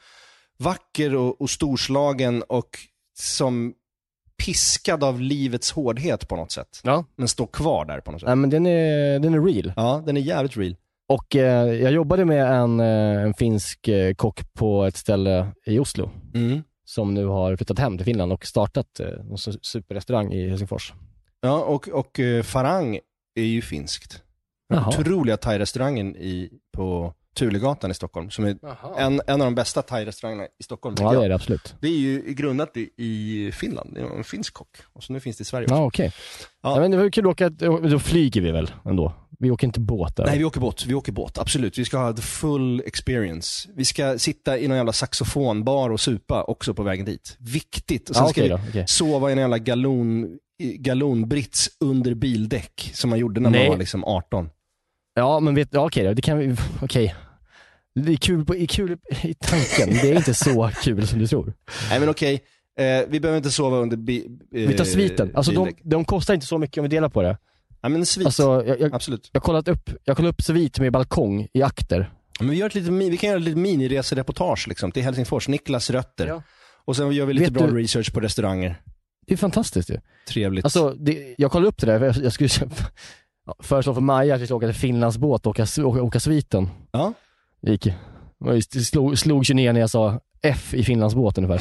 vacker och, och storslagen och som piskad av livets hårdhet på något sätt. Ja. Mm. Men står kvar där på något sätt. Nej men den är, den är real. Ja, den är jävligt real. Och eh, jag jobbade med en, eh, en finsk eh, kock på ett ställe i Oslo som nu har flyttat hem till Finland och startat eh, en su- superrestaurang i Helsingfors. Ja, och, och eh, Farang är ju finskt. Den Jaha. otroliga thai-restaurangen i, på Tulegatan i Stockholm, som är en, en av de bästa thai-restaurangerna i Stockholm. Ja, tycker det är jag. det absolut. det är ju grundat i, i Finland, det är en finsk kock. Och så nu finns det i Sverige också. Ja, okej. Ja. Nej, men det var ju kul att åka, då flyger vi väl ändå? Vi åker inte båt där. Nej, vi åker båt. Vi åker båt, absolut. Vi ska ha the full experience. Vi ska sitta i någon jävla saxofonbar och supa också på vägen dit. Viktigt. Och sen Ja, ska okej vi då, okej. sova i en jävla galon, i- galonbrits under bildäck som man gjorde när Nej. man var liksom 18. Ja, men vet, ja, okej då, det kan vi, okej. Det är kul, på, i kul i tanken, det är inte så kul som du tror. Nej men okej, eh, vi behöver inte sova under bi, eh, Vi tar sviten, alltså de, bildäck. de kostar inte så mycket om vi delar på det. Ja men svit, Alltså, jag, jag, absolut. jag kollat upp, jag kollade upp svit med balkong i akter. Men vi, gör ett litet, mi- vi kan göra ett litet miniresereportage liksom, till Helsingfors, Niklas rötter. Ja. Och sen gör vi lite Vet bra du- research på restauranger. Det är fantastiskt ju. Trevligt. Alltså, det, jag kollade upp det där, för jag, jag skulle ja, föreslå för Maja att vi skulle åka till Finlandsbåt och åka, åka, åka sviten. Ja. Det gick ju. Det var ju- det slog, slog sig ner när jag sa F i Finlandsbåt ungefär.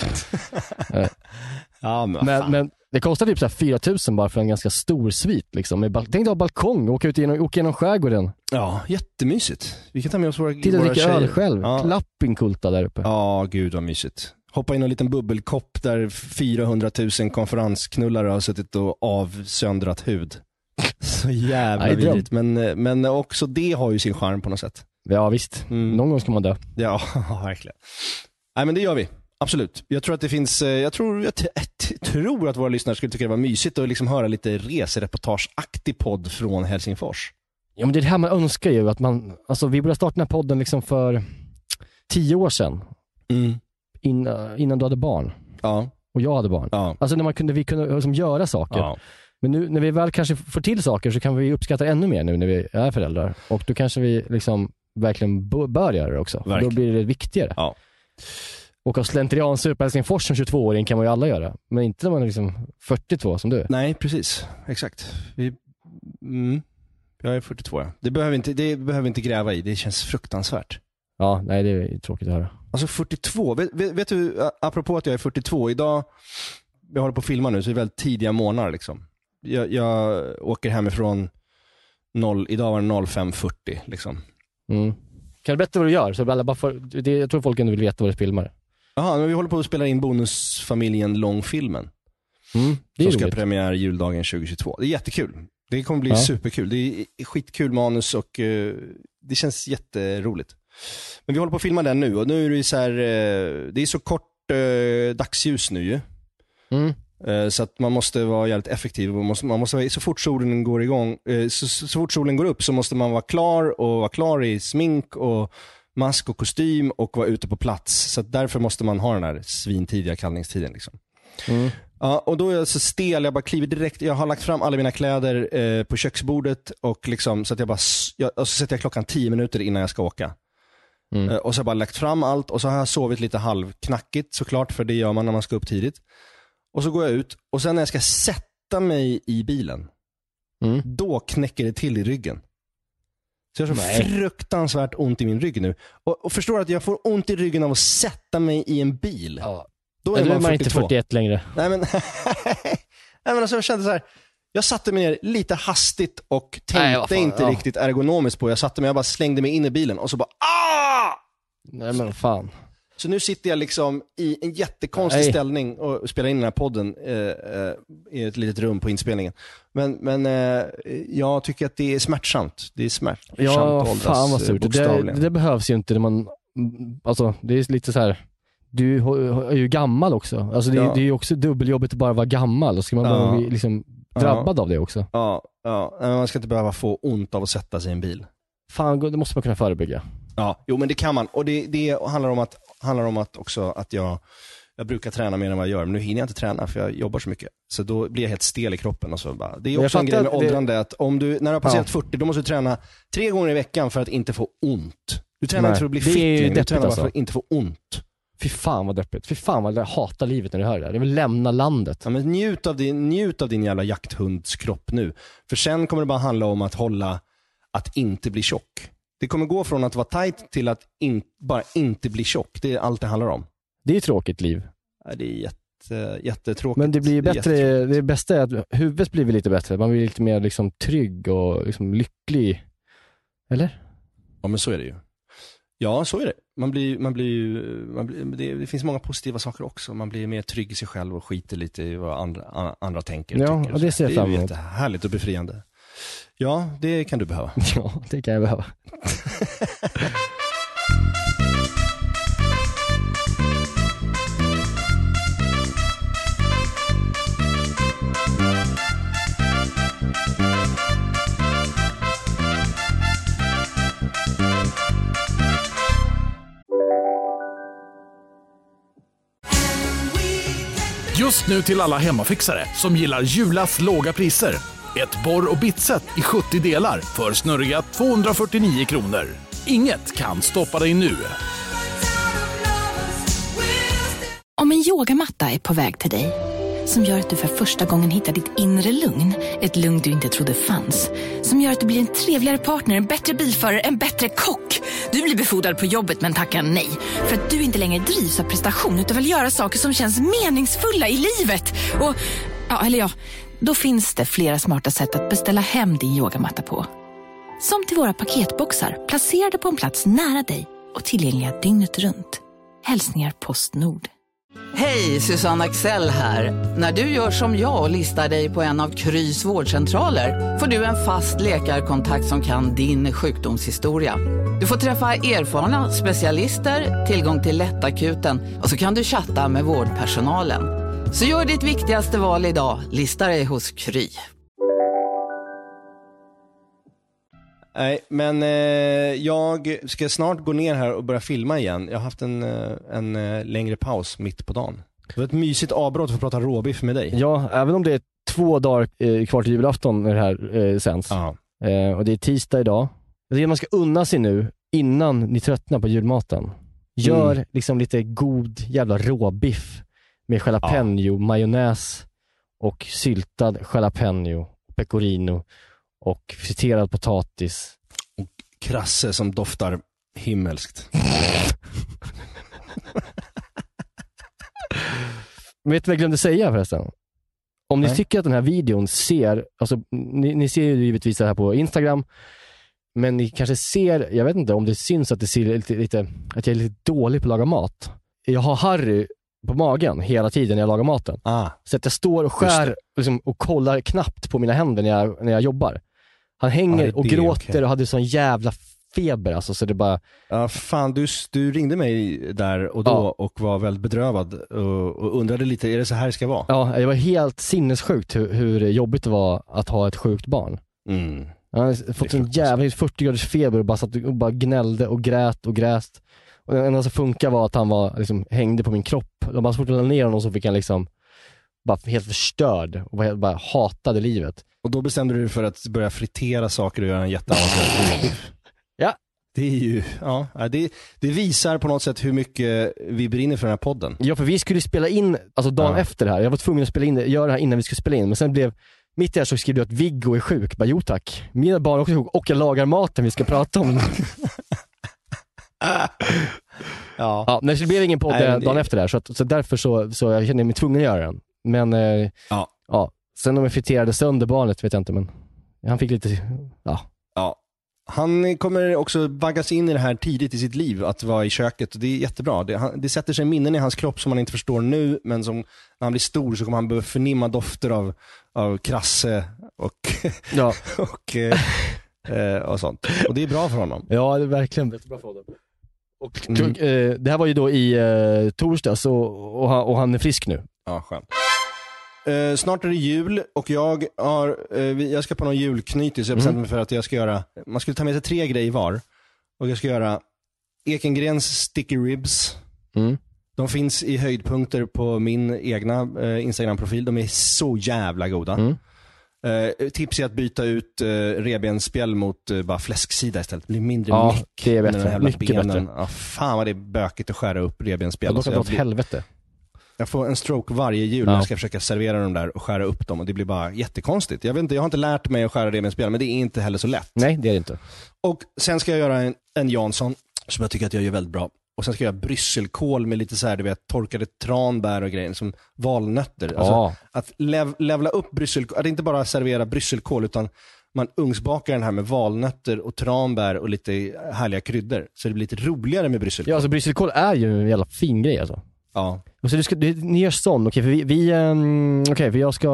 ja men, vad Men, fan. men det kostar typ så här 4 000 bara för en ganska stor svit liksom. Med bal- Tänk dig ha balkong och åka ut genom, åka genom skärgården. Ja, jättemysigt. Vi kan ta med oss våra, Titta och våra dricka tjejer. öl själv. Ja. Klappinkulta där uppe. Ja, gud vad mysigt. Hoppa in i en liten bubbelkopp där 400 000 konferensknullare har suttit och avsöndrat hud. Så jävla Nej, dröm. vidrigt. Men, eh, men också det har ju sin charm på något sätt. Ja visst, Mm. någon gång ska man dö. Ja, verkligen. Nej men det gör vi. Absolut. Jag tror att det finns, eh, jag tror, jag t- t- tror att våra lyssnare skulle tycka det var mysigt att liksom höra lite resereportageaktig podd från Helsingfors. Ja men det är det här man önskar ju att man, alltså vi började starta den här podden liksom för tio år sedan. Mm. Innan, innan du hade barn Ja, och jag hade barn. ja, Alltså när man kunde, vi kunde liksom göra saker. ja. Men nu när vi väl kanske får till saker så kan vi uppskatta ännu mer nu när vi är föräldrar. Och då kanske vi liksom verkligen bo- bör göra det också. För då Verkligen. blir det viktigare. Ja. Och av slentriansup på Helsingfors som 22-åring kan man ju alla göra. Men inte när man är liksom 42 som du. Nej, precis. Exakt. Vi... Mm. Jag är 42 ja. Det behöver, vi inte, det behöver vi inte gräva i. Det känns fruktansvärt. Ja, nej det är tråkigt att höra. Alltså 42. Vet, vet, vet du, a- apropå att jag är 42. Idag, jag håller på att filma nu, så det är väldigt tidiga månader liksom. Jag, jag åker hemifrån noll, idag var det 05.40 liksom. Mm. Kan du berätta vad du gör? Så alla bara får, det, jag tror folk ändå vill veta vad du filmar. Jaha, men vi håller på att spela in Bonusfamiljen långfilmen. Mm. Det är som ska roligt. premiär juldagen 2022. Det är jättekul. Det kommer bli Ja. superkul. Det är skitkul manus och eh, det känns jätteroligt. Men vi håller på att filma den nu och nu är det ju så här, eh, det är så kort eh, dagsljus nu ju. Mm. Eh, Så att man måste vara jävligt effektiv. och Man måste, man måste, vara- så, fort solen går igång, eh, så, så så fort solen går upp så måste man vara klar och vara klar i smink och mask och kostym och vara ute på plats. Så att därför måste man ha den här svintidiga kallningstiden. Liksom. Mm. Ja, och då är jag så stel, jag bara kliver direkt, jag har lagt fram alla mina kläder eh, på köksbordet och liksom, så att jag bara, s- jag, och så sätter jag klockan 10 minuter innan jag ska åka. Mm. Eh, och så har jag bara lagt fram allt och så har jag sovit lite halvknackigt såklart, för det gör man när man ska upp tidigt. Och så går jag ut och sen när jag ska sätta mig i bilen, Mm. då knäcker det till i ryggen. Så jag har så Nej. fruktansvärt ont i min rygg nu. Och, och förstår att jag får ont i ryggen av att sätta mig i en bil. Ja. Då Men är nu man är man inte 42. 41 längre. Nej men, nej, men alltså jag kände så här. Jag satte mig ner lite hastigt och tänkte Nej, vad fan, inte ja. riktigt ergonomiskt på. Jag satte mig, jag bara slängde mig in i bilen och så bara ah! Nej men fan. Så nu sitter jag liksom i en jättekonstig Nej. ställning och spelar in den här podden eh, eh, i ett litet rum på inspelningen. Men, men eh, jag tycker att det är smärtsamt. Det är smärtsamt Ja, att åldras, fan vad eh, surt. Det, där- bokstavligen. det där behövs ju inte när man, mm, alltså det är lite så här. du ho- ho- är ju gammal också. Alltså det, är- Ja. det är ju också dubbeljobbigt att bara vara gammal. Och ska man behöva Ja. bli liksom drabbad av det också. Ja, ja. Nej, men man ska inte behöva få ont av att sätta sig i en bil. Fan, det måste man kunna förebygga. Ja, jo men det kan man. Och det, det handlar om att, handlar om att också att jag, jag brukar träna mer än vad jag gör, men nu hinner jag inte träna för jag jobbar så mycket. Så då blir jag helt stel i kroppen och så bara. Det är jag också en fattar grej med att det- åldrande, att om du, när du har passerat 40, då måste du träna tre gånger i veckan för att inte få ont. Du tränar Nej, inte för att bli det är fit ju längre, du deppigt tränar bara alltså. för att inte få ont. Fy fan vad deppigt. Fy fan vad jag hatar livet när du hör det där. Jag vill lämna landet. Ja, men njut, av din, njut av din jävla jakthundskropp nu. För sen kommer det bara handla om att hålla, att inte bli tjock. Det kommer gå från att vara tight till att in, bara inte bli tjock. Det är allt det handlar om. Det är ju ett tråkigt liv. Ja, Det är jätte, jättetråkigt. Men det blir ju är bättre, jättetråkigt. det, bästa är att huvudet blir väl lite bättre. Man blir lite mer liksom trygg och liksom lycklig. Eller? Ja, men så är det ju. Ja, så är det. Man blir, man blir, ju- man blir det, det finns många positiva saker också. Man blir mer trygg i sig själv och skiter lite i vad andra, a- andra tänker och Ja, tycker. och det ser jag fram Det är ju emot. jättehärligt och befriande. Ja, det kan du behöva. Ja, det kan jag behöva. Just nu till alla hemmafixare som gillar Julas låga priser. Ett borr och bitset i 70 delar för snurriga 249 kronor. Inget kan stoppa dig nu. Om en yogamatta är på väg till dig, som gör att du för första gången hittar ditt inre lugn, ett lugn du inte trodde fanns, som gör att du blir en trevligare partner, en bättre bilförare, en bättre kock. Du blir befordrad på jobbet men tackar nej, för att du inte längre drivs av prestation utan vill göra saker som känns meningsfulla i livet. Och, ja, eller ja, då finns det flera smarta sätt att beställa hem din yogamatta på. Som till våra paketboxar placerade på en plats nära dig och tillgängliga dygnet runt. Hälsningar Postnord. Hej, Susanne Axel här. När du gör som jag och listar dig på en av Krys vårdcentraler får du en fast läkarkontakt som kan din sjukdomshistoria. Du får träffa erfarna specialister, tillgång till lättakuten och så kan du chatta med vårdpersonalen. Så gör ditt viktigaste val idag, listar dig hos Kry. Nej, men eh, jag ska snart gå ner här och börja filma igen. Jag har haft en, eh, en eh, längre paus mitt på dagen. Det var ett mysigt avbrott för att prata råbiff med dig. Ja, även om det är två dagar eh, kvar till julafton när det här eh, sänds. Eh, och det är tisdag idag. Jag tycker man ska unna sig nu innan ni tröttnar på julmaten. Gör Mm. liksom lite god jävla råbiff med jalapeno, majonnäs och syltad jalapeno, pecorino och friterad potatis. Och krasse som doftar himmelskt. Men vet du vad jag glömde säga förresten? Om ni Nej. tycker att den här videon ser, alltså ni, ni ser ju givetvis det här på Instagram, men ni kanske ser, jag vet inte om det syns att det ser lite, lite att jag är lite dålig på att laga mat. Jag har Harry på magen hela tiden när jag lagar maten. Ah. Så att jag står och skär liksom, och kollar knappt på mina händer när jag, när jag jobbar. Han hänger Ja, det är och det, gråter okej. och hade sån jävla feber alltså så det bara... Ja, fan du, du ringde mig där och då och var väldigt bedrövad och, och undrade lite, är det så här det ska vara? Ja, det var helt sinnessjukt hur, hur jobbigt det var att ha ett sjukt barn. Mm. Han hade fått en jävla 40 graders feber och bara, satt och bara gnällde och grät och gräst. Och det enda som funkade var att han var, liksom, hängde på min kropp. Och bara så fort jag la ner honom så fick han liksom bara helt förstörd och var helt, bara hatade livet. Och då bestämde du dig för att börja fritera saker och göra en jätteavancerad råbiff. Ja. Det är ju, ja, ja, det, det visar på något sätt hur mycket vi brinner för den här podden. Ja, för vi skulle spela in, alltså dagen Ja. efter det här. Jag var tvungen att spela in det, göra det här innan vi skulle spela in. Men sen blev, mitt i det här så skrev du att Viggo är sjuk. Bara, jo tack. Mina barn är också sjuka och jag lagar maten vi ska prata om. Ja. ja, men det blev ingen podd Nej, men det- dagen efter det här, så, att, så därför så, så jag kände mig tvungen att göra den. Men, eh, ja. Sen om jag friterade sönder barnet vet jag inte, men han fick lite, ja. Ja. Han kommer också vaggas in i det här tidigt i sitt liv, att vara i köket. Och det är jättebra. Det, han, det sätter sig minnen i hans kropp som han inte förstår nu, men som när han blir stor så kommer han behöva förnimma dofter av, av krasse och, ja. och, eh, eh, och sånt. Och det är bra för honom. Ja, det är verkligen jättebra fråga. Och, Mm. eh, det här var ju då i eh, torsdags och, och, han, och han är frisk nu. Ja, skönt. Eh, snart är det jul och jag, har, eh, vi- jag ska på någon julknytis. Jag bestämde mig för att jag ska göra, man skulle ta med sig tre grejer var. Och jag ska göra Ekengrens sticky ribs. Mm. De finns i höjdpunkter på min egna eh, Instagram-profil. De är så jävla goda. Eh, tips är att byta ut eh, revbensspjäll mot eh, bara fläsksida istället. Det blir mindre Ja, meck. det är med de bättre. här jävla Mycket benen. bättre. Ja, fan vad det är bökigt att skära upp Jag revbensspjäll. har Alltså, åt blir- helvete. jag får en stroke varje jul när jag ska försöka servera dem där och skära upp dem och det blir bara jättekonstigt. Jag, vet inte, jag har inte lärt mig att skära revbensspjäll men det är inte heller så lätt. Nej, det är det inte. Och sen ska jag göra en, en Jansson som jag tycker att jag gör väldigt bra. Och sen ska jag göra brysselkål med lite så här, du vet, torkade tranbär och grejer som valnötter. Alltså, Ja. Att lev, levla upp brysselkål, att inte bara servera brysselkål utan man ugnsbakar den här med valnötter och tranbär och lite härliga kryddor. Så det blir lite roligare med brysselkål. Ja, alltså brysselkål är ju en jävla fin grej alltså. Ja. Och så du ska, du, ni gör sån, okej för vi, vi ehm, okej, för jag ska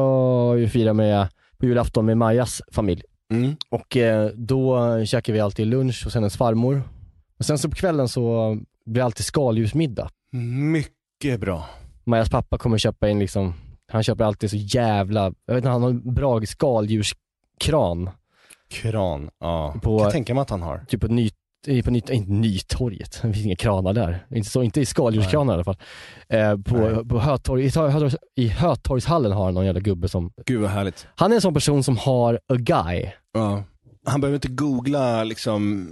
ju fira med, på julafton med Majas familj. Mm. Och eh, då käkar vi alltid lunch hos hennes farmor. Och sen så på kvällen så blir det alltid skaldjursmiddag. Mycket bra. Majas pappa kommer köpa in liksom, han köper alltid så jävla, jag vet inte, han har en bra skaldjurskran. Kran, ja. På, Kan jag tänka mig att han har. Typ på ny, i- på nytt, inte Nytorget, det finns inga kranar där. Inte, så, inte i skaldjurskranar i alla fall. Eh, på på Hötorg, i, Hö- Hötorgs- I Hötorgshallen har han någon jävla gubbe som... Gud vad härligt. Han är en sån person som har a guy. Ja. Han behöver inte googla liksom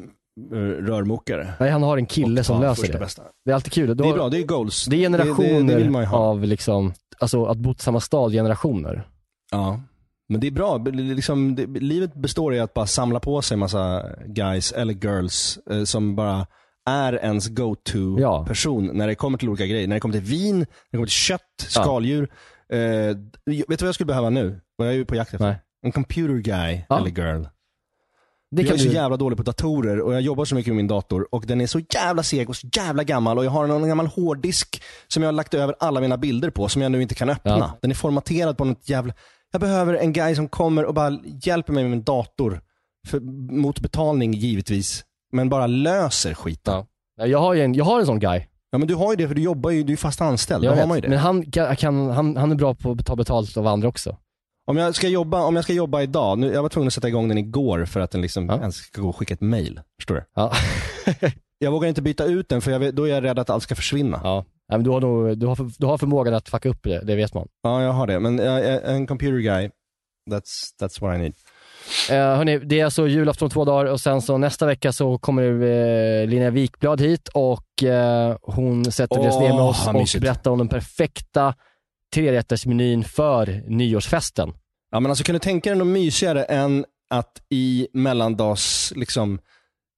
eh, rörmokare. Nej, han har en kille Och som ta löser första det. bästa. Det är alltid kul. Det är bra, det är goals. Det är generationer Det- det- det vill man ju ha. av liksom, alltså att bo i samma stad, generationer. Ja. Men det är bra. Det- det- Liksom, det, livet består i att bara samla på sig massa guys eller girls eh, som bara är ens go-to-person när det kommer till olika grejer. När det kommer till vin, när det kommer till kött, skaldjur. Eh, vet du vad jag skulle behöva nu? Vad jag är ju på jakt efter? En computer guy Ja. eller girl. Det jag kan är så du- jävla dålig på datorer och jag jobbar så mycket med min dator och den är så jävla seg och så jävla gammal och jag har en gammal hårddisk som jag har lagt över alla mina bilder på som jag nu inte kan öppna. Ja. Den är formaterad på något jävla... Jag behöver en guy som kommer och bara hjälper mig med min dator. För, mot betalning givetvis. Men bara löser skiten. Ja. Jag, har ju en, jag har en sån guy. Ja men du har ju det för du jobbar ju, du är fast anställd. Jag Då har vet, man ju det. Men han, kan, kan, han, han är bra på att ta betalt av andra också. Om jag ska jobba, om jag ska jobba idag, nu, jag var tvungen att sätta igång den igår för att den liksom ens ska gå och skicka ett mail. Förstår du? Ja. jag vågar inte byta ut den för jag vet, då är jag rädd att allt ska försvinna. Ja. Nej, men du, har nog, du, har för, du har förmågan att fucka upp det, det vet man. Ja, jag har det. Men jag är en computer guy, that's, that's what I need. Eh, hörni, det är alltså julafton om två dagar och sen så nästa vecka så kommer eh, Linnea Wikblad hit och eh, hon sätter sig ner med Åh, oss vad och mysigt. berättar om den perfekta trerättersmenyn för nyårsfesten. Ja, men alltså kan du tänka dig något mysigare än att i mellandags, liksom,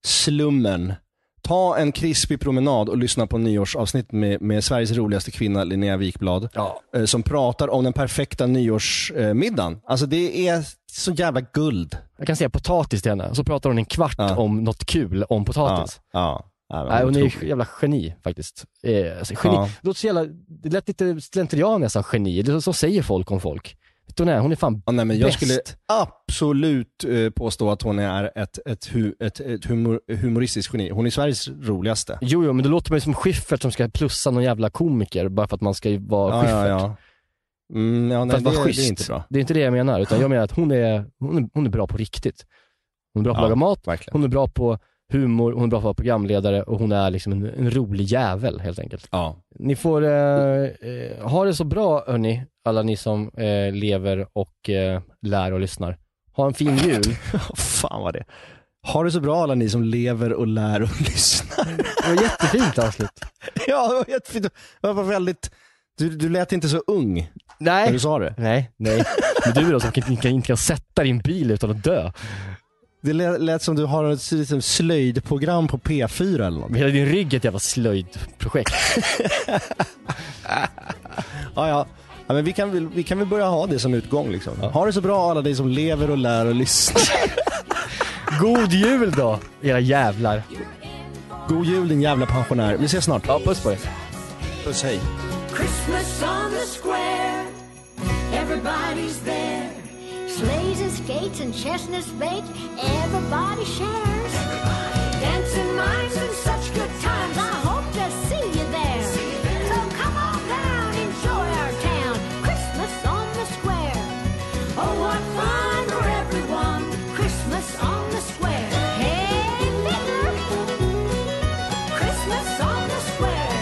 slummen ta en krispig promenad och lyssna på nyårsavsnitt med, med Sveriges roligaste kvinna Linnea Wikblad eh, som pratar om den perfekta nyårsmiddagen. Alltså det är så jävla guld. Jag kan säga potatis till henne, så pratar hon en kvart om något kul om potatis. Ja. Ja, Nej, hon är otroligt. ju jävla geni faktiskt. Eh, alltså, geni. Ja. Det, låter så jävla, det lät lite slentrian när jag sa geni, det, är så- så säger folk om folk. Vet du, hon är- hon är fan Ja, nej, men jag bäst. skulle absolut eh, påstå att hon är ett, ett, hu- ett, ett humor, humoristiskt geni. Hon är Sveriges roligaste. Jo, jo, men det låter mig som Schyffert som ska plussa någon jävla komiker bara för att man ska ju vara Ja, ja, Schyffert. ja. Mm, ja, nej, Fast vad det, schysst. det är inte bra. Det är inte det jag menar, utan jag menar att hon är, hon är, hon är bra på riktigt. Hon är bra på att Ja, laga mat, verkligen. hon är bra på humor, hon är bra på att vara programledare och hon är liksom en, en rolig jävel helt enkelt. Ja. Ni får eh, eh, ha det så bra hörni, alla ni som eh, lever och eh, lär och lyssnar. Ha en fin jul. Fan vad det Ha det så bra alla ni som lever och lär och lyssnar. Det var jättefint avslut. ja, det var jättefint. Det var väldigt... Du, du lät inte så ung Nej. när du sa det. Nej, nej. Men du då som kan- kan- inte kan sätta din bil utan att dö. Det lät, lät som du har ett liksom, slöjdprogram på P4 eller något. Hela din rygg är ett jävla slöjdprojekt. Ja, ja. ja men vi, kan väl, vi kan väl börja ha det som utgång. Liksom. Ha det så bra alla ni som lever och lär och lyssnar. God jul då, era jävlar. God jul din jävla pensionär. Vi ses snart. Ja, puss på er. Puss, hej. Christmas on the square, everybody's there. Sleighs and skates and chestnuts baked, everybody shares. Dancing mimes and such good times, I hope to see you there. So come on down, enjoy our town, Christmas on the square. Oh, what fun for everyone, Christmas on the square. Hey, Fiddler, Christmas on the square.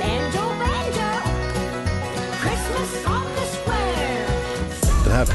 Banjo, banjo, Christmas on the square. Den här